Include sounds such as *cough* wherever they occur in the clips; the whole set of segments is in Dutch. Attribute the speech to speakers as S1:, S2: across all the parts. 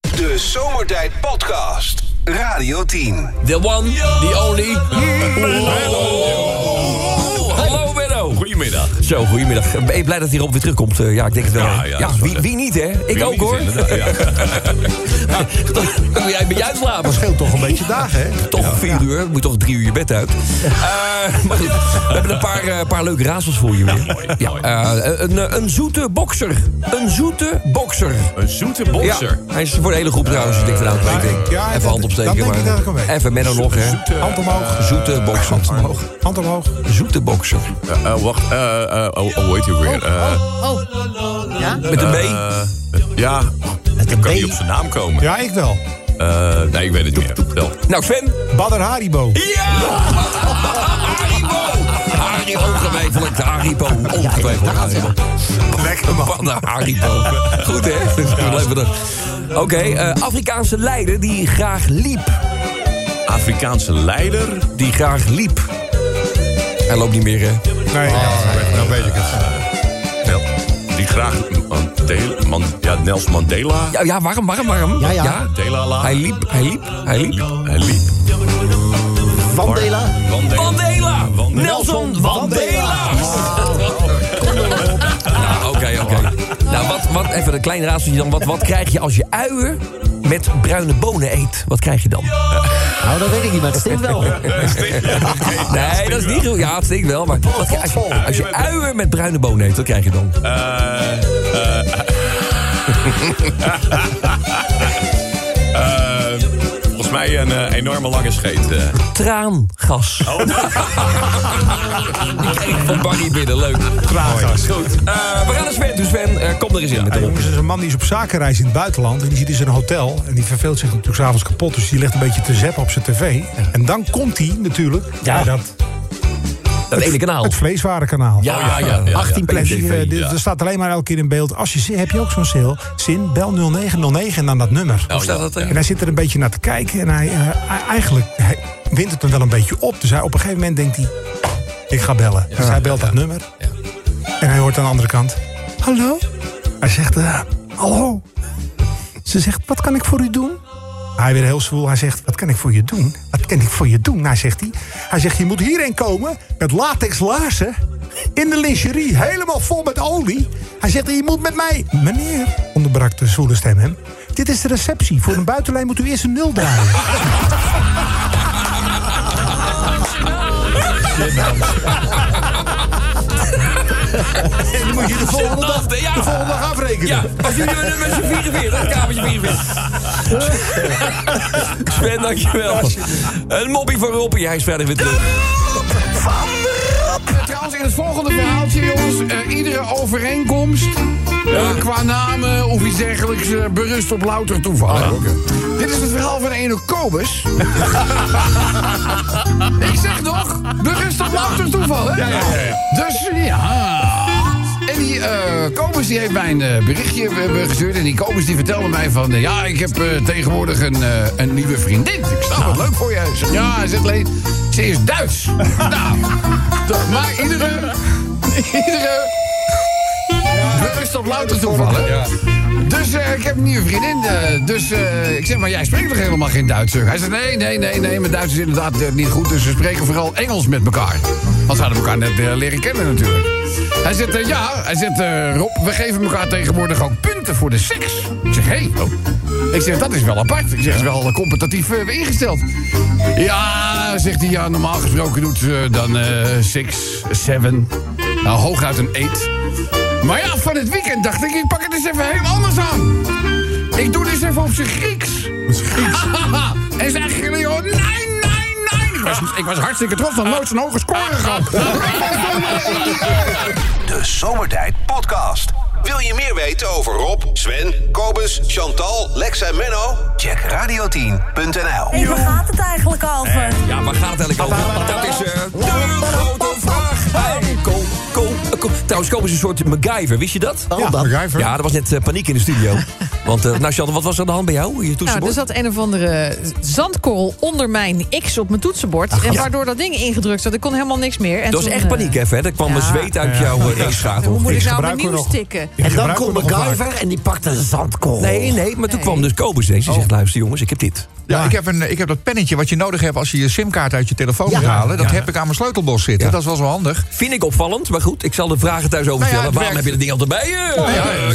S1: De Zomertijd Podcast. Radio 10.
S2: The one, the only. Oh, Hallo Benno.
S3: Goedemiddag.
S2: Zo, goedemiddag. Ben je blij dat hij erop weer terugkomt? Eh, Ja, ik denk het wel.
S3: Ja,
S2: hè?
S3: ja, dat is
S2: wie,
S3: wel-
S2: wie niet, hè? Ik ook,
S3: niet,
S2: hoor.
S3: inderdaad, ja.
S2: *laughs* Kun jij bij jou slapen?
S4: Dat scheelt toch een beetje dagen, hè?
S2: Toch vier uur. Moet toch drie uur je bed uit. Eh, maar goed, we hebben een paar, eh, paar leuke razels voor je weer. Ja, eh, een, eh, een zoete bokser. Een zoete bokser.
S3: Een zoete bokser.
S2: Ja, hij is voor de hele groep trouwens. Ik denk van, nou, ik denk,
S4: Eh, ja,
S2: even
S4: dat-
S2: hand opsteken.
S4: dat denk ik
S2: maar-
S4: dat ik hem weet.
S2: even Menno nog, hè.
S4: Hand omhoog.
S2: Zoete bokser.
S4: Hand omhoog.
S2: Zoete bokser.
S3: Eh, eh, wacht, eh, eh, oh, oh, hoe heet hij ook weer? Eh,
S5: Oh, ja?
S2: Met een B.
S3: eh, ja, ik kan niet op zijn naam komen.
S4: Ja, ik wel.
S3: Eh, nee, ik weet het niet meer. Vertel.
S2: Nou, Sven.
S4: Badr Haribo.
S2: Ja! Haribo! Haribo, ongetwijfeld. Haribo, ongetwijfeld. Haribo.
S4: Lekker man.
S2: Panda Haribo. Goed, hè? Blijven er. Oké, eh, Afrikaanse leider die graag liep.
S3: Afrikaanse leider.
S2: Die graag liep. Hij loopt niet meer, hè?
S4: Nee,
S3: Ah,
S4: dan weet ik het.
S3: Nel, die graag. Mandela, Man- ja, Nels Mandela.
S2: Ja, ja waarom, waarom, waarom?
S5: Ja, ja.
S3: Mandela la.
S2: Hij liep, hij liep, hij liep.
S3: Hij liep.
S5: Mandela.
S3: Mandela.
S2: Mandela! Nelson Mandela! Nou, oké, oké. Nou, wat, wat, even een klein raadseltje dan. Wat, wat krijg je als je uien met bruine bonen eet? Wat krijg je dan?
S5: Nou, dat weet ik niet, maar het stinkt wel.
S2: Nee, dat is niet goed. Ja, het stinkt wel, maar wat krijg- als, je, als je uien met bruine bonen eet, wat krijg je dan?
S3: Eh, volgens mij een eh, enorme lange scheet. eh.
S2: Traangas. *laughs* Die kreeg ik van Barry binnen, leuk.
S4: Traangas.
S2: Goed, eh, we gaan naar Sven toe. Sven, eh, kom er eens in met
S4: Ja,
S2: hem.
S4: jongens, er is een man die is op zakenreis in het buitenland. En die zit dus in zijn hotel. En die verveelt zich natuurlijk s'avonds kapot. Dus die ligt een beetje te zeppen op zijn tv. En dan komt hij natuurlijk
S2: Ja.
S4: bij dat,
S2: Dat ene kanaal.
S4: het vleeswarenkanaal.
S2: Ja,
S3: ja, ja.
S2: 18
S4: En
S2: plek.
S4: die, eh, dit-
S3: ja.
S4: Er staat alleen maar elke keer in beeld. Als je zin, heb je ook zo'n sale. Zin, bel 0909 en dan dat nummer.
S3: Nou,
S2: Hoe staat dat? eh?
S4: En hij zit er een beetje naar te kijken. En hij, eh, eigenlijk hij wint het hem wel een beetje op. Dus hij, op een gegeven moment denkt hij, ik ga bellen. dus hij belt dat nummer. En hij hoort aan de andere kant, hallo? Hij zegt, eh, hallo. Ze zegt, wat kan ik voor u doen? Hij weer heel zwoel. Hij zegt, wat kan ik voor je doen? Wat kan ik voor je doen? Nou, zegt hij. Hij zegt, je moet hierheen komen met latex laarzen. In de lingerie, helemaal vol met olie. Hij zegt, je moet met mij... Meneer, onderbrak de zwoele stem hem. Dit is de receptie. Voor een buitenlijn moet u eerst een nul *laughs* draaien. en dan moet je de volgende dag,
S2: Gênant, ja.
S4: de volgende dag afrekenen.
S2: Ja, als jullie met met z'n 44, kamertje 44. Sven, dankjewel. Een moppie van Roppie, hij is verder weer terug.
S6: Trouwens, in het volgende verhaaltje, jongens, eh, iedere overeenkomst eh, qua namen of iets dergelijks eh, berust op louter toeval. Dit is het verhaal van ene Kobus. Ik zeg nog, berust op louter toeval, hè? Dus ja. En die eh Kobus die heeft mij een eh, berichtje eh, gestuurd. En die Kobus die vertelde mij van... eh, ja, ik heb eh, tegenwoordig een, eh, een nieuwe vriendin. Ik snap het, leuk voor je. Ik zeg, ja, hij zegt alleen... Ze is Duits. nou, dat- maar iedere... iedere... Rust op louter toeval, hè? Dus eh, ik heb een nieuwe vriendin. eh, dus eh, ik zeg maar, jij spreekt toch helemaal geen Duits? zeg? Hij zegt, nee, nee, nee, nee. Mijn Duits is inderdaad eh, niet goed. Dus we spreken vooral Engels met elkaar. Want ze hadden elkaar net eh, leren kennen natuurlijk. Hij zegt, eh, ja. Hij zegt, eh, Rob, we geven elkaar tegenwoordig ook punten voor de seks. Ik zeg, hé. Ik zeg, dat is wel apart. Ik zeg, het is wel competitief eh, ingesteld. Ja, zegt hij, ja, normaal gesproken doet ze dan eh, six, seven. Nou, hooguit een eight. Maar ja, van het weekend dacht ik, ik pak het eens even heel anders aan. Ik doe dit even op zijn Grieks. *laughs* en zeggen jullie, joh, nee, nee, nee. Ah. Ik was, ik was hartstikke trots, dat nooit zo'n hoge score gehad.
S1: De Zomertijd Podcast. Wil je meer weten over Rob, Sven, Kobus, Chantal, Lex en Menno? Check radio10.nl.
S7: Hey, waar gaat het eigenlijk over?
S2: Eh, Ja, waar gaat het eigenlijk over? Dat is eh, de grote vraag. Hey, Kom, kom, kom. Trouwens, Koop is een soort MacGyver, wist je dat?
S4: Ja,
S5: dat-
S4: MacGyver. *laughs*
S2: Ja, er was net eh, paniek in de studio. Want, eh nou, Chantal, wat was er aan de hand bij jou? Je
S8: Nou, er
S2: toetsenbord?
S8: zat een of andere zandkorrel onder mijn X op mijn toetsenbord. en
S2: ja.
S8: waardoor dat ding ingedrukt zat. Ik kon helemaal niks meer. En
S2: dat was
S8: toen,
S2: echt
S8: eh,
S2: paniek, hè? Verder kwam
S8: ja.
S2: een zweet uit jouw eh,
S8: Hoe
S2: eetschakel.
S8: moet ik
S4: X
S8: nou mijn
S4: gebruiken we
S8: nieuw
S4: nog.
S8: stikken?
S4: Ik
S5: En dan
S4: gebruik
S5: komt
S4: hem nog wel vaak.
S5: MacGyver en die pakt een zandkool.
S2: Nee, nee, maar
S8: Nee.
S2: toen kwam dus Kobus ineens.
S9: Oh.
S2: Die zegt, luister jongens, ik heb dit.
S9: Ja, ik, heb een, ik heb dat pennetje wat je nodig hebt als je je simkaart uit je telefoon
S5: Ja.
S9: moet halen. Dat heb ik aan mijn sleutelbos zitten.
S2: Ja.
S9: Dat is wel zo handig.
S2: Vind ik opvallend, maar goed, ik zal de vragen thuis over
S9: Nou ja,
S2: stellen.
S9: het
S2: Waarom heb
S9: werkt.
S2: je dat ding altijd bij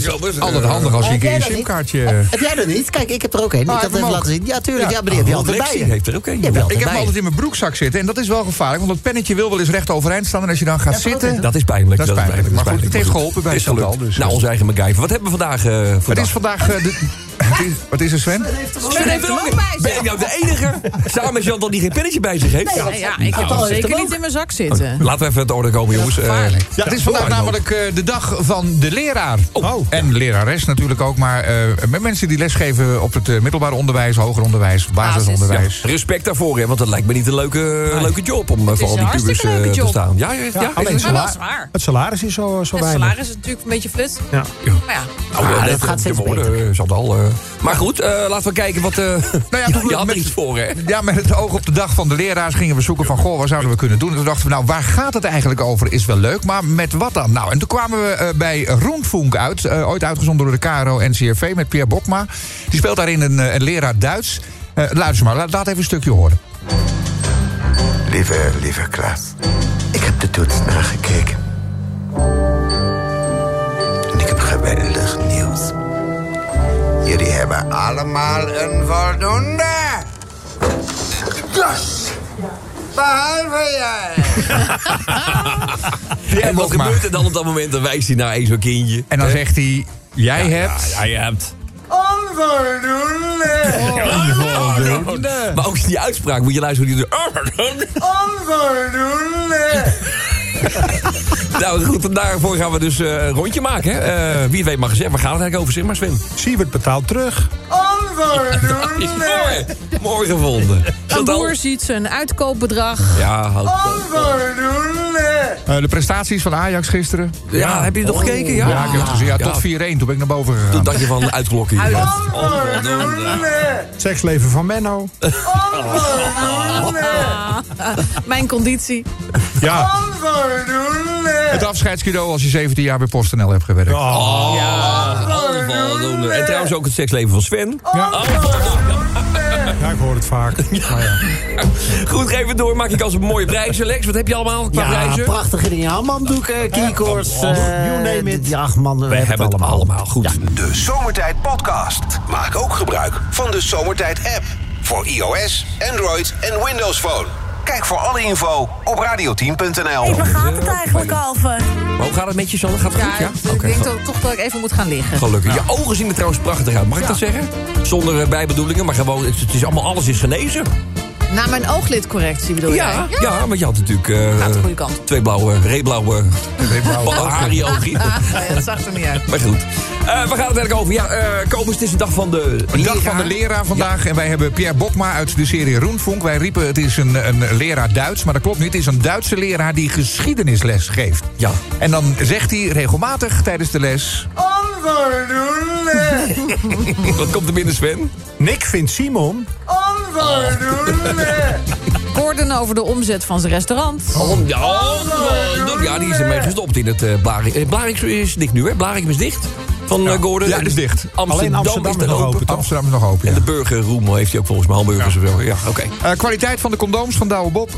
S2: je? Eh, Kobus, eh,
S9: Altijd handig als je een
S5: Heb jij
S9: keer je
S5: dat niet?
S9: simkaartje...
S5: Heb jij dat niet? Kijk, ik heb er ook een. Ik
S9: Ah,
S5: had
S9: heb hem
S5: even
S9: ook.
S5: laten zien. Ja, tuurlijk.
S9: Ja.
S5: Ja, maar die heb je
S2: Rod
S5: altijd bij
S2: Rexy
S5: je.
S2: heeft er ook een.
S5: Je hebt wel
S9: Ik heb hem
S5: erbij.
S9: altijd in mijn broekzak zitten. En dat is wel gevaarlijk, want dat pennetje wil wel eens recht overeind staan. En als je dan gaat zitten...
S2: Dat is pijnlijk.
S9: Dat is pijnlijk. Maar goed, het heeft
S2: Maar
S9: geholpen bij
S2: het is
S9: Chantal,
S2: gelukt.
S9: dus-
S2: Nou, ons eigen MacGyver. Wat hebben we vandaag eh, voor
S9: Het
S2: dag?
S9: is vandaag... eh, de- wat is- Wat is er, Sven?
S8: Sven heeft er ook bij
S2: Ben ik nou de enige? Samen met Chantal die geen pennetje bij zich heeft?
S8: zitten. Ja, ik heb
S5: Oh,
S8: hem
S5: heeft
S8: zeker
S5: hem
S8: niet in mijn zak zitten.
S2: Laten we even het orde komen, jongens. Eh,
S9: Ja, het is vandaag
S2: vooruit,
S9: namelijk eh, de dag van de leraar. Oh, En lerares natuurlijk ook, maar eh, met mensen die lesgeven op het eh, middelbaar onderwijs, hoger onderwijs, basisonderwijs.
S2: Respect daarvoor, hè, want dat lijkt me niet een leuke, leuke job om eh, voor
S8: is
S2: al
S8: een
S2: die pubers
S8: hartstikke
S2: eh,
S8: leuke
S2: te
S8: job.
S2: staan. Ja, ja, ja.
S4: alleen
S2: is-
S8: Maar wel
S4: salaris.
S8: zwaar.
S4: Het salaris is zo, zo
S8: Het
S4: weinig.
S8: salaris is natuurlijk een beetje flut.
S4: Ja.
S8: Maar ja,
S9: Oh,
S2: Nou, eh,
S5: Ah, dat
S2: net
S5: gaat
S2: de
S5: steeds
S2: woorden, eh, Chantal, eh. Maar goed, eh, laten we kijken
S9: *laughs*
S2: wat... eh,
S9: Nou
S2: *laughs*
S9: ja,
S2: je-
S9: toen we
S2: je had er
S9: met-
S2: iets voor, hè?
S9: Ja, met het oog op de dag van de leraars gingen we zoeken van... goh, wat zouden we kunnen doen? En toen dachten we, nou, waar gaat het eigenlijk over? Is wel leuk, maar met wat dan? Nou, en toen kwamen we eh, bij Rundfunk uit. eh, ooit uitgezonden door de KRO-NCRV met Pierre Bokma. Die speelt daarin een, eh, een leraar Duits. Eh, luister maar, laat, laat even een stukje horen.
S10: Lieve, lieve Klaas. Ik heb de toets nagekeken. En ik heb geweldig nieuws. Jullie hebben allemaal een voldoende. Dus, behalve jij.
S2: en wat
S9: Bokma.
S2: gebeurt er dan op dat moment? Dan wijst hij naar één zo'n kindje.
S9: En dan zegt hij, jij hebt...
S2: je hebt...
S10: Onvoldoende.
S2: Oh, Maar ook die uitspraak, moet je luisteren hoe die Oh, doet.
S10: Onvoldoende.
S2: Nou goed, en daarvoor gaan we dus eh, een rondje maken. Hè? Eh, wie het weet mag gezegd, waar gaat het eigenlijk over? Zeg maar Sven.
S4: Siewert betaalt terug.
S2: Is mooi, mooi gevonden.
S8: een
S2: Chantal?
S8: boer ziet zijn uitkoopbedrag.
S2: Ja, houd op.
S9: Eh, de prestaties van Ajax gisteren.
S2: ja, heb je het nog gekeken? Ja,
S4: Ah,
S9: Ja, ik heb het gezien. Ja,
S2: Ja.
S9: tot 4-1. Toen ben ik naar boven
S2: Toen
S9: gegaan.
S2: dacht je van uitklokken. hier.
S8: Huilen.
S4: Seksleven van Menno.
S8: Mijn conditie.
S4: Ja.
S9: Het afscheidscadeau als je 17 jaar bij PostNL hebt gewerkt.
S4: Oh.
S2: Onvoldoende. En trouwens ook het seksleven van Sven.
S4: Ja.
S2: Onvoldoende.
S4: ja, ik hoor het vaak.
S9: *laughs*
S2: Goed, geef het door. Maak ik als een mooie prijzen. Lex, wat heb je allemaal qua
S5: Ja,
S2: prijzen?
S5: prachtige dingen. Handdoeken, keycords. eh,
S4: You name it.
S5: d- Ja, ach, man, we,
S2: We
S5: hebben het allemaal.
S2: allemaal. Goed.
S1: De Zomertijd Podcast. Maak ook gebruik van de Zomertijd app. Voor iOS, Android en Windows Phone. Kijk voor alle info op radio10.nl.
S7: Hey, waar gaat het eigenlijk over?
S2: Maar hoe gaat het met je, Sanne? Gaat het
S8: Ja,
S2: goed? Ja?
S8: ik
S2: Oké,
S8: denk
S2: goed.
S8: toch, toch dat ik even moet gaan liggen.
S2: Gelukkig. Je ogen zien er trouwens prachtig uit. Mag ik dat zeggen? Zonder eh, bijbedoelingen, maar gewoon, het het is allemaal, alles is genezen.
S8: Na mijn ooglidcorrectie bedoel
S2: Ja,
S8: jij?
S2: ja, want je had natuurlijk eh,
S8: Gaat de goede kant.
S2: twee blauwe, reeblauwe, *laughs*
S9: Reeblauwe
S2: balahari-oogjes.
S8: Nee, dat zag er niet uit.
S2: Maar goed, Eh, waar gaat het eigenlijk over? Ja, eh Kobus, het is de dag van de
S9: De dag van
S2: leraar.
S9: de leraar vandaag. En wij hebben Pierre Bokma uit de serie Roenfunk. Wij riepen het is een, een leraar Duits, maar dat klopt niet. Het is een Duitse leraar die geschiedenisles geeft.
S2: Ja.
S9: En dan zegt hij regelmatig tijdens de les...
S10: Onvoldoende.
S2: Wat komt er binnen, Sven?
S4: Nick vindt Simon.
S10: Onvoldoende.
S8: Gordon over de omzet van zijn restaurant.
S2: Oh, ja, oh, ja, die is ermee gestopt in het eh Blarik. Eh, Blarik is dicht nu, hè? Blarik is dicht van eh, Gordon.
S9: Ja, die is dicht.
S4: Alleen
S2: Amsterdam,
S4: Amsterdam
S2: is er
S4: nog
S2: open.
S4: open, toch?
S9: Amsterdam is nog open, ja.
S2: En de burgerroem heeft hij ook volgens mij hamburgers of zo. Ja, oké.
S9: Eh, kwaliteit van de condooms van Douwe Bob.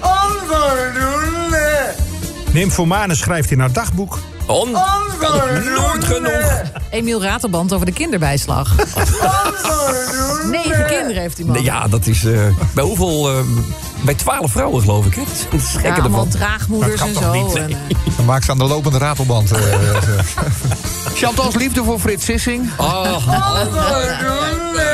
S2: Oh.
S10: Onvoldoende.
S4: Nymphomane schrijft in haar dagboek.
S2: On, kan het nooit genoeg.
S8: Emiel Raterband over de kinderbijslag. Negen kinderen heeft die man.
S2: Nee, ja, dat is eh, bij hoeveel... eh, bij twaalf vrouwen, geloof ik, hè? Dat is het
S8: Ja,
S2: gekke
S8: allemaal
S2: ervan.
S8: draagmoeders
S9: Dat
S8: en
S9: kan
S8: zo.
S9: toch niet,
S8: En, eh,
S9: Dan maakt ze aan de lopende ratelband. eh, Chantal's liefde voor Frits Sissing.
S2: Oh,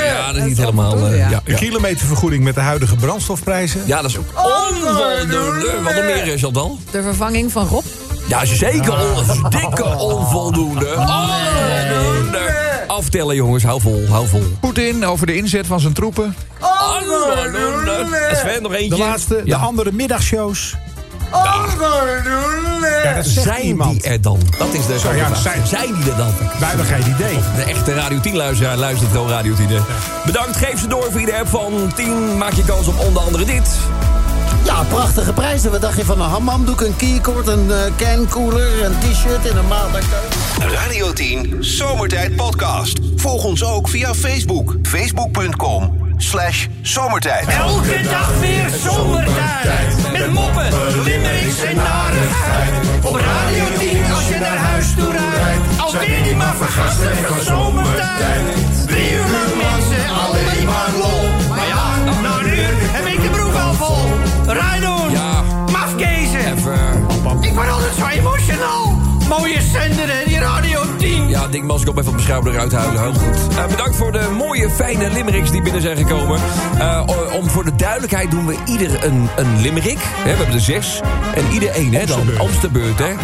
S2: ja, dat is niet helemaal... eh,
S8: ja.
S2: ja,
S4: *laughs* Een kilometervergoeding met de huidige brandstofprijzen.
S2: Ja, dat is ook onvoldoende. Wat nog meer is dat dan?
S8: de vervanging van Rob.
S2: Ja, zeker
S8: Ah.
S2: on, dikke onvoldoende. Onvoldoende. Aftellen, jongens. Hou vol, hou vol.
S9: Poetin over de inzet van zijn troepen.
S2: Onvoldoende. Sven, nog
S4: De
S2: eentje.
S4: laatste, de
S2: Ja.
S4: andere middagshows. Eh,
S2: Ja, dat
S4: zegt
S2: zijn
S4: iemand.
S2: die er dan? Dat is dus de
S4: Zo, ja,
S2: grote vraag.
S4: zijn-
S2: zijn, die er dan?
S4: Wij hebben geen idee.
S2: De echte Radio 10-luisteraar luistert gewoon Radio 10. hè. Bedankt, geef ze door via de app van 10. Maak je kans op onder andere dit.
S5: Ja, prachtige prijzen. Wat dacht je van een hammamdoek, een keycord, een eh, cancooler, een t-shirt en een maandag?
S1: Radio 10 Zomertijd Podcast. Volg ons ook via Facebook. Facebook.com slash zomertijd.
S11: Elke dag weer zomertijd. Met moppen, limmerings en narigheid. Op Radio 10 als je naar huis toe rijdt. Alweer die maar vergasten van zomertijd. Drie uur lang mensen, alleen maar lol. Maar ja, na een uur heb ik de broek al vol. Rijdon, mafkezen. Ik word altijd zo emotional. Mooie zender en die Radio 10.
S2: Ja, Ding Mas, kom even op mijn schouder eruit huilen. Heel goed. Eh, bedankt voor de mooie, fijne limericks die binnen zijn gekomen. Eh, o- om voor de duidelijkheid doen we ieder een, een limerick. Hè, we hebben er zes. En ieder één, hè? Dan Amsterbeurt, hè?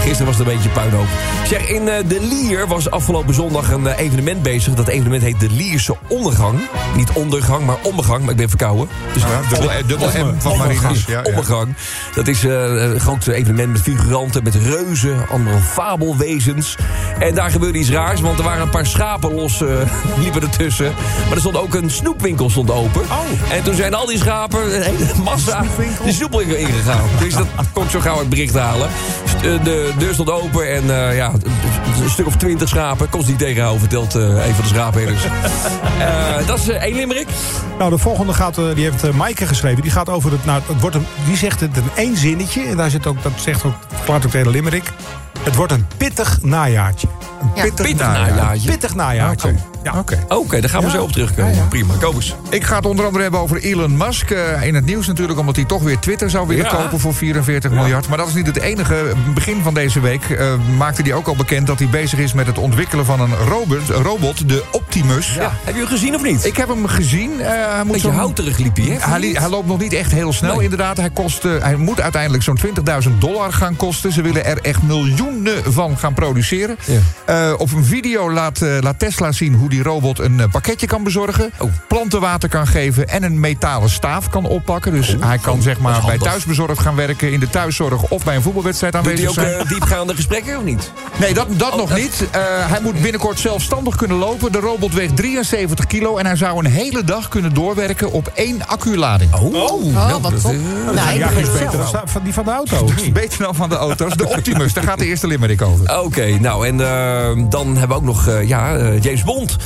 S2: Gisteren was het een beetje puinhoop. Zeg, in eh, De Lier was afgelopen zondag een eh, evenement bezig. Dat evenement heet De Lierse Ondergang. Niet ondergang, maar omgang. Maar ik ben verkouden. Dus
S9: Ja, dubbel- eh, dubbel M van Marina's. Ja, ja.
S2: Omgang. Dat is eh, een groot evenement met figuranten, met reuzen, andere fabelwezens. En daar gebeurde iets raars, want er waren een paar schapen los, eh, *laughs* liepen ertussen. Maar er stond ook een snoepwinkel stond open. En toen zijn al die schapen, een hele massa, de snoepwinkel ingegaan. Dus dat kon ik zo gauw het bericht halen. St- eh, De deur stond open en eh, ja, een stuk of twintig schapen. Kon ze niet tegenhouden, vertelt eh, een van de schaapherders. Eh, dat is eh, één limerick.
S4: Nou, de volgende gaat, eh, die heeft eh, Maaike geschreven. Die gaat over het. Nou, het wordt een, die zegt het in één zinnetje. En daar zit ook, dat zegt ook, verklaart ook de hele Limerick. Het wordt een pittig najaartje. Een
S2: Ja. Pittig najaartje.
S4: Pittig najaartje. Ja.
S2: Oké, daar gaan we zo op terugkomen. Prima, kom eens.
S9: Ik ga het onder andere hebben over Elon Musk. eh, in het nieuws natuurlijk, omdat hij toch weer Twitter zou willen
S2: Ja.
S9: kopen voor 44 miljard. Maar dat is niet het enige. Begin van deze week eh, maakte hij ook al bekend dat hij bezig is met het ontwikkelen van een robot, een robot de Optimus.
S2: Heb je hem gezien of niet?
S9: Ik heb hem gezien. eh hij moet
S2: Beetje
S9: zo'n-
S2: houterig liep hij, hè?
S9: Hij, li- hij loopt nog niet echt heel snel, inderdaad. Hij, kost, eh, hij moet uiteindelijk zo'n 20.000 dollar gaan kosten. Ze willen er echt miljoenen van gaan produceren. Eh, op een video laat, eh, laat Tesla zien hoe die robot een eh, pakketje kan bezorgen.
S2: Oh,
S9: Plantenwater kan geven en een metalen staaf kan oppakken. Dus hij kan zeg maar bij
S2: handig.
S9: thuisbezorgd gaan werken, in de thuiszorg of bij een voetbalwedstrijd
S2: Doet hij
S9: aanwezig
S2: ook
S9: zijn.
S2: eh, diepgaande gesprekken of niet? Oh,
S9: Nee, dat, dat nog niet. Eh, hij moet binnenkort zelfstandig kunnen lopen. De robot weegt 73 kilo en hij zou een hele dag kunnen doorwerken op één acculading. Oh,
S4: nou, wat dat top. is- Nou, ja, ik die is begin beter zelf. dan van die van de auto.
S9: beter dan van de auto's. De Optimus, daar gaat de eerste limerick over.
S2: Oké, nou en eh, dan hebben we ook nog eh, ja, eh, James Bond.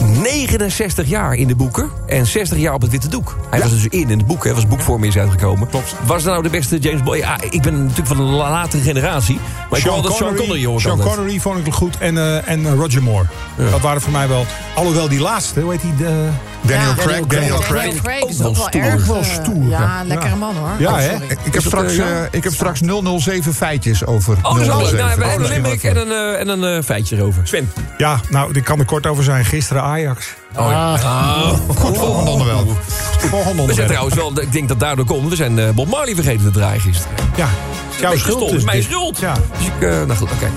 S2: 69 jaar in de boeken en 60 jaar op het witte doek. Hij was dus in in het boek, hè, was boekvorm is uitgekomen. Klopt. Was nou de beste James Bond? Ja, ik ben natuurlijk van de la- latere generatie. Maar ik wil altijd Sean Connery, hoor. ik
S4: Sean
S2: altijd.
S4: Connery vond ik goed. En, eh, en eh, Roger Moore. Dat waren voor mij wel. Alhoewel die laatste, hoe heet die? De...
S9: Daniel Ja, Craig, Daniel Daniel Craig. Craig.
S8: Craig
S4: Ook
S8: is toch wel
S4: stoer.
S8: erg,
S4: Ook wel
S8: eh,
S4: stoer.
S8: ja, lekkere man, hoor.
S4: Ja,
S8: Oh,
S4: hè?
S8: sorry.
S9: Ik heb,
S4: Is dat,
S9: straks,
S4: eh, ja?
S9: eh, ik heb straks 007 feitjes over
S2: Oh, dat is wel leuk.
S9: 007.
S2: Nou, we hebben een
S9: Oh,
S2: limerick en een, eh, en een eh, feitje erover. Sven.
S4: Ja, nou, dit kan er kort over zijn. Gisteren Ajax.
S2: Oh, ja.
S9: Goed, volgende onderwerp.
S4: Volgende
S2: We zijn
S4: onderwerp.
S2: trouwens wel, ik denk dat daardoor komt. We zijn eh, Bob Marley vergeten te draaien gisteren.
S4: Ja, jouw
S2: Beetje
S4: schuld
S2: stom,
S4: dus.
S2: Mijn
S4: dit.
S2: schuld.
S4: Ja.
S2: Dus ik, eh, nou goed, oké.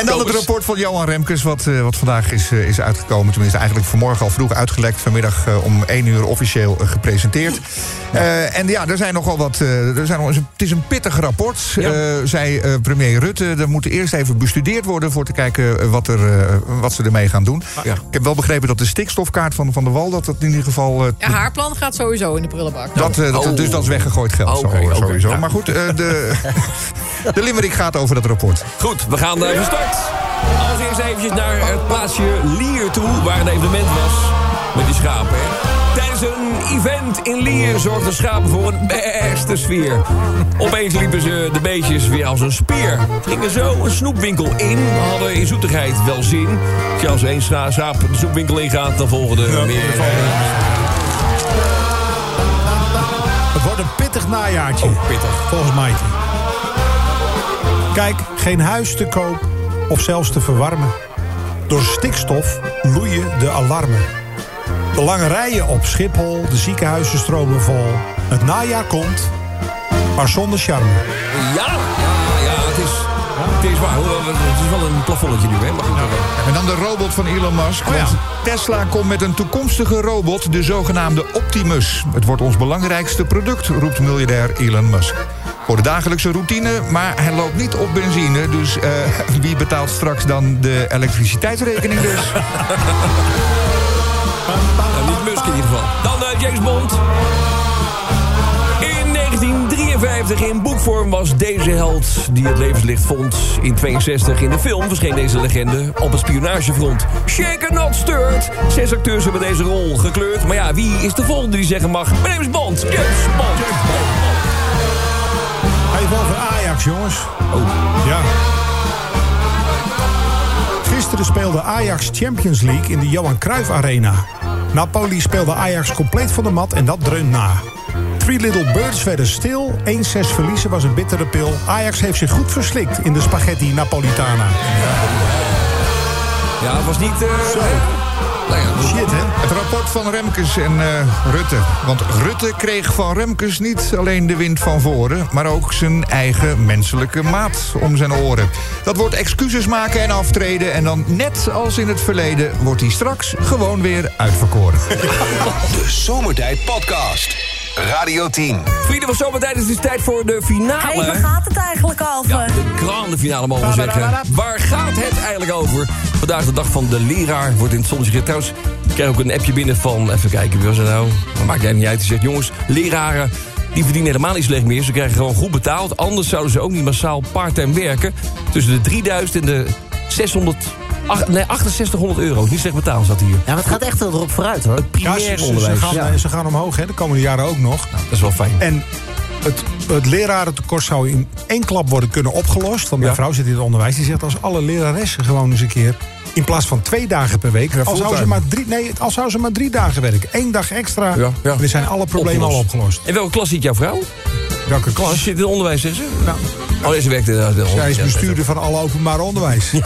S9: En dan het rapport van Johan Remkes, wat, eh, wat vandaag is, eh, is uitgekomen. Tenminste, eigenlijk vanmorgen al vroeg uitgelekt. Vanmiddag eh, om 1 uur officieel eh, gepresenteerd. Eh, en ja, er zijn nogal wat. eh, er zijn, nog eens- het is een pittig rapport, eh, zei eh, premier Rutte. Er moet eerst even bestudeerd worden voor te kijken eh, wat, er, eh, wat ze ermee gaan doen.
S2: Ah, Ja.
S9: Ik heb wel begrepen dat de stikstofkaart van Van der Wal... dat dat in ieder geval eh,
S8: Ja, haar plan gaat sowieso in de prullenbak.
S9: dat, eh, dat,
S2: Oh.
S9: Dus dat is weggegooid geld
S2: Oké,
S9: zo,
S2: oké,
S9: sowieso.
S2: ja.
S9: Maar goed, eh, de, *laughs* de limerick gaat over dat rapport.
S2: Goed, we gaan eh, van start. Als eerst eventjes naar het plaatsje Lier toe, waar een evenement was met die schapen. Hè. Tijdens een event in Lier zorgden schapen voor een beste sfeer. Opeens liepen ze de beestjes weer als een speer. Gingen zo een snoepwinkel in, hadden in zoetigheid wel zin. Tja, Als één scha- schaap de snoepwinkel ingaat, dan volgen er meer. eh,
S4: Het wordt een pittig najaartje.
S2: pittig.
S4: Volgens mij. Kijk, geen huis te koop of zelfs te verwarmen. Door stikstof loeien de alarmen. De lange rijen op Schiphol, de ziekenhuizen stromen vol. Het najaar komt, maar zonder charme.
S2: Ja, ja, ja, het is, het is waar. Hoewel, Het is wel een plafonnetje nu, hè? Maar goed, eh, oké.
S9: En dan de robot van Elon Musk. want Tesla komt met een toekomstige robot, de zogenaamde Optimus. Het wordt ons belangrijkste product, roept miljardair Elon Musk. voor de dagelijkse routine. Maar hij loopt niet op benzine. Dus eh, *laughs* wie betaalt straks dan de elektriciteitsrekening dus?
S2: Nou, niet Musk in ieder geval. Dan eh, James Bond. In 1953 in boekvorm was deze held die het levenslicht vond. In 62 in de film verscheen deze legende op het spionagefront. Shaken not stirred. Zes acteurs hebben deze rol gekleurd. Maar ja, wie is de volgende die zeggen mag? Mijn naam is Bond. James Bond.
S4: Hij heeft wel voor Ajax, jongens. Oh. Ja. Gisteren speelde Ajax Champions League in de Johan Cruijff Arena. Napoli speelde Ajax compleet van de mat en dat dreunt na. Three Little Birds werden stil. 1-6 verliezen was een bittere pil. Ajax heeft zich goed verslikt in de spaghetti Napolitana.
S2: Ja, het was niet... eh,
S4: Shit, hè?
S9: Het rapport van Remkes en eh, Rutte. Want Rutte kreeg van Remkes niet alleen de wind van voren... maar ook zijn eigen menselijke maat om zijn oren. Dat wordt excuses maken en aftreden... en dan net als in het verleden wordt hij straks gewoon weer uitverkoren.
S1: De Zomertijd Podcast. Radio 10.
S2: Vrienden van Zomertijd, het is tijd voor de
S7: Hé,
S2: finale.
S7: waar gaat het eigenlijk over?
S2: Ja, de grande finale mogen we zeggen. Waar gaat het eigenlijk over? Vandaag de dag van de leraar wordt in het zonnetje gezet. Trouwens, ik krijg ook een appje binnen van... Even kijken, wie was dat nou? Maar maakt jij niet uit. Die zegt, jongens, leraren... Die verdienen helemaal niet slecht meer. Ze krijgen gewoon goed betaald. Anders zouden ze ook niet massaal part-time werken. Tussen de 3000 en de 600... ach- nee, 6800 euro. Niet slecht betaald zat hier.
S5: Ja, maar het gaat echt erop vooruit, hoor.
S4: Ja, ze, ze- ze gaan, eh, ze gaan omhoog, hè? De komende jaren ook nog.
S2: Dat is wel fijn.
S4: En het, het lerarentekort zou in één klap worden kunnen opgelost. Want mijn vrouw zit in het onderwijs. Die zegt als alle leraressen gewoon eens een keer... in plaats van twee dagen per week... als zou, ze
S9: fulltime.
S4: maar drie, nee, als zou ze maar drie dagen werken. Eén dag extra.
S2: Ja, ja.
S4: En dan zijn alle problemen al opgelost.
S2: En welke klas zit jouw vrouw?
S4: Welke
S2: Ze
S4: klas?
S2: zit in het onderwijs, zegt ze?
S4: Nou,
S2: Oh, nee, ze werkt inderdaad wel.
S4: zij is
S2: Ja,
S4: bestuurder van alle openbaar onderwijs.
S2: Ja,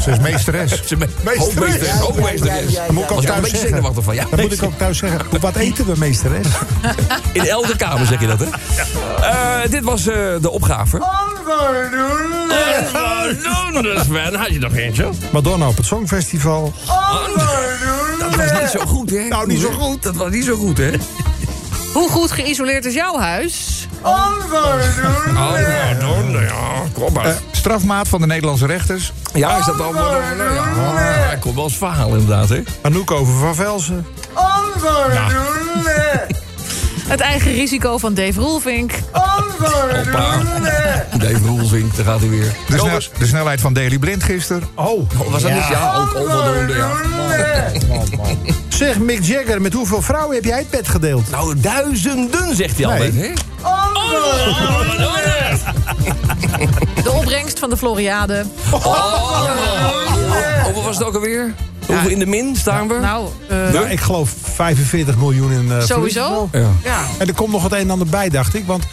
S9: Ze is meesteres.
S2: ze me-
S4: Meesteres.
S2: hoofdmeester. Hoofdmeesteres.
S4: Dan moet ik ook
S2: Was ik een
S4: thuis
S2: beetje
S4: zeggen.
S2: zenuwachtig *laughs* van. Ja,
S4: Dan moet ik ook thuis zeggen. hoe- Wat eten we, meesteres?
S2: In elke kamer zeg je *laughs* dat, hè? Eh, dit was eh, de opgave. Anders, Oh, Sven. Had je nog eentje?
S4: Madonna op het Songfestival.
S2: Dat was niet zo goed, hè?
S4: Nou, niet zo
S2: goed. Dat was niet zo goed, hè?
S8: Hoe goed geïsoleerd is jouw huis?
S2: Oh, ja, dan, ja. Kom maar.
S9: Eh, strafmaat van de Nederlandse rechters.
S2: ja, is dat allemaal... Ja, ja, hij komt wel eens verhaal, inderdaad, hè?
S4: Anouk over Van Velsen.
S8: Het eigen risico van Dave Roelvink.
S2: Hoppa. Dave Roelvink, daar gaat hij weer.
S9: De, snel- de snelheid van Daily Blind gisteren.
S4: Oh.
S2: Oh, was dat niet? Ja, ook onvoldoende, ja.
S4: Zeg, Mick Jagger, met hoeveel vrouwen heb jij het bed gedeeld?
S2: Nou, duizenden, zegt hij altijd, hè?
S8: De opbrengst van de Floriade.
S2: Oh, Hoeveel was het ook alweer? Hoeveel in de min staan we?
S8: Nou, eh,
S4: Nou, ik geloof 45 miljoen in eh,
S8: sowieso.
S4: verlies.
S2: Ja.
S8: Ja.
S4: En er komt nog het een en ander bij, dacht ik. Want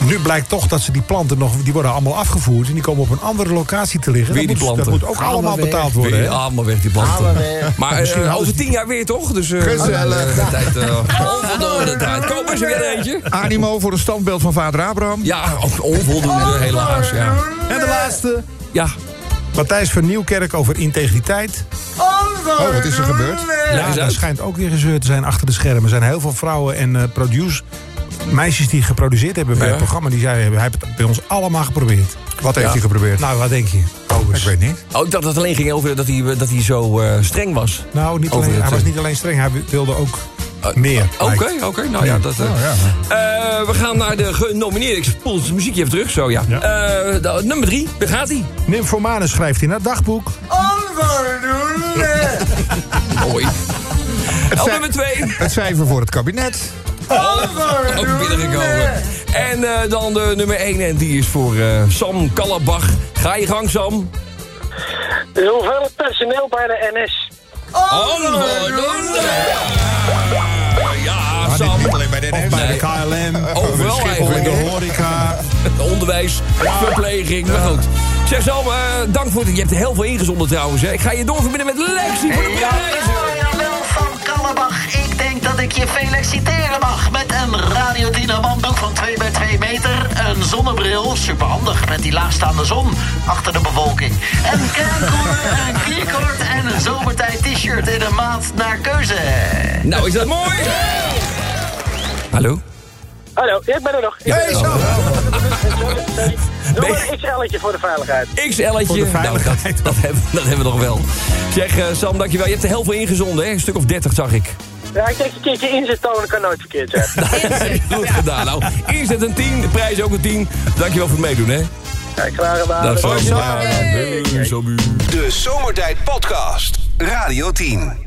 S4: nu blijkt toch dat ze die planten nog... die worden allemaal afgevoerd en die komen op een andere locatie te liggen.
S2: Weer
S4: dat,
S2: die
S4: moet, dat
S2: planten.
S4: moet ook allemaal
S5: weer.
S4: betaald
S2: Weer
S4: worden. hè?
S2: allemaal weg, die
S5: Allemaal
S2: planten.
S5: weg.
S2: Maar eh, over tien jaar weer, toch? Dus, eh,
S9: Gezellig.
S2: eh, tijd, eh, *laughs* onvoldoende tijd. Koop eens weer eentje.
S9: Animo voor een standbeeld van vader Abraham.
S2: Ja, ook onvoldoende, helaas. Ja.
S4: En de laatste.
S2: ja.
S4: Matthijs van Nieuwkerk over integriteit.
S9: Oh, wat is er gebeurd?
S2: Leg
S4: Ja,
S2: eens
S4: daar
S2: uit.
S4: schijnt ook weer gezeur te zijn achter de schermen. Er zijn heel veel vrouwen en eh produce... meisjes die geproduceerd hebben bij
S2: Ja.
S4: het programma... die zeiden, hij heeft het bij ons allemaal geprobeerd.
S9: Wat heeft hij geprobeerd?
S4: Nou, wat denk je?
S9: ik weet niet.
S2: Oh, ik dacht dat het alleen ging over dat hij, dat hij zo eh, streng was.
S4: Nou, niet
S2: Over
S4: alleen,
S2: het,
S4: hij was
S2: eh,
S4: niet alleen streng, hij wilde ook
S9: Eh,
S4: meer.
S2: Oké,
S4: lijkt.
S2: oké. nou ja, dat...
S4: Oh,
S2: eh. Eh, we gaan naar de genomineerde. Ik spoel het muziekje even terug, zo ja. Eh, nou, nummer drie, daar gaat hij.
S4: Nymphomane schrijft in haar dagboek. *laughs*
S2: Mooi.
S9: Het,
S2: Op
S9: cij-
S2: nummer twee.
S9: het cijfer voor het kabinet.
S2: Ook binnengekomen. En eh, dan de nummer 1 en die is voor eh, Sam Kallabach. Ga je gang, Sam.
S12: Hoeveel het personeel bij de NS?
S2: Onvoldoende! Ja,
S9: Maar dit
S2: Sam.
S9: niet alleen bij de NS.
S4: Bij
S2: Nee.
S4: de
S9: Oh,
S4: KLM.
S2: Overal
S4: Schiphol, in
S2: eigenlijk, hè?
S4: de horeca.
S2: Onderwijs, verpleging, maar goed. Zeg Sam, eh, dank voor het... Je hebt er heel veel ingezonden trouwens. Hè. Ik ga je doorverbinden met Lexi voor de prijzen.
S13: Jawel, van Kallebach. Ik denk dat ik je feliciteren mag met een radiodynamantdoek van 2 bij 2 meter. Een zonnebril, superhandig met die laagstaande zon achter de bewolking. Een kernkooler, een kniekort en een zomertijd t-shirt in een maat naar keuze.
S2: Nou, is dat mooi? Hallo? oh,
S11: Hallo, ik ben er nog. Ik ben er nog. Sorry. Doe maar een XL'tje voor de veiligheid.
S2: XL'tje. Nou, dat, dat, hebben, dat hebben we nog wel. Zeg, eh, Sam, dankjewel. Je hebt er heel veel ingezonden, hè? Een stuk of 30 zag ik.
S11: Ja, ik denk een keertje inzet tonen kan nooit verkeerd zijn.
S2: *laughs* Nou, Goed gedaan. Nou, inzet een 10, de prijs ook een 10. Dankjewel voor het meedoen, hè?
S11: Ja, klaar gedaan.
S2: Dat is
S11: Hoi,
S2: wel
S11: Sam.
S2: gedaan. Hey, Samu.
S1: De Zomertijd Podcast. Radio 10.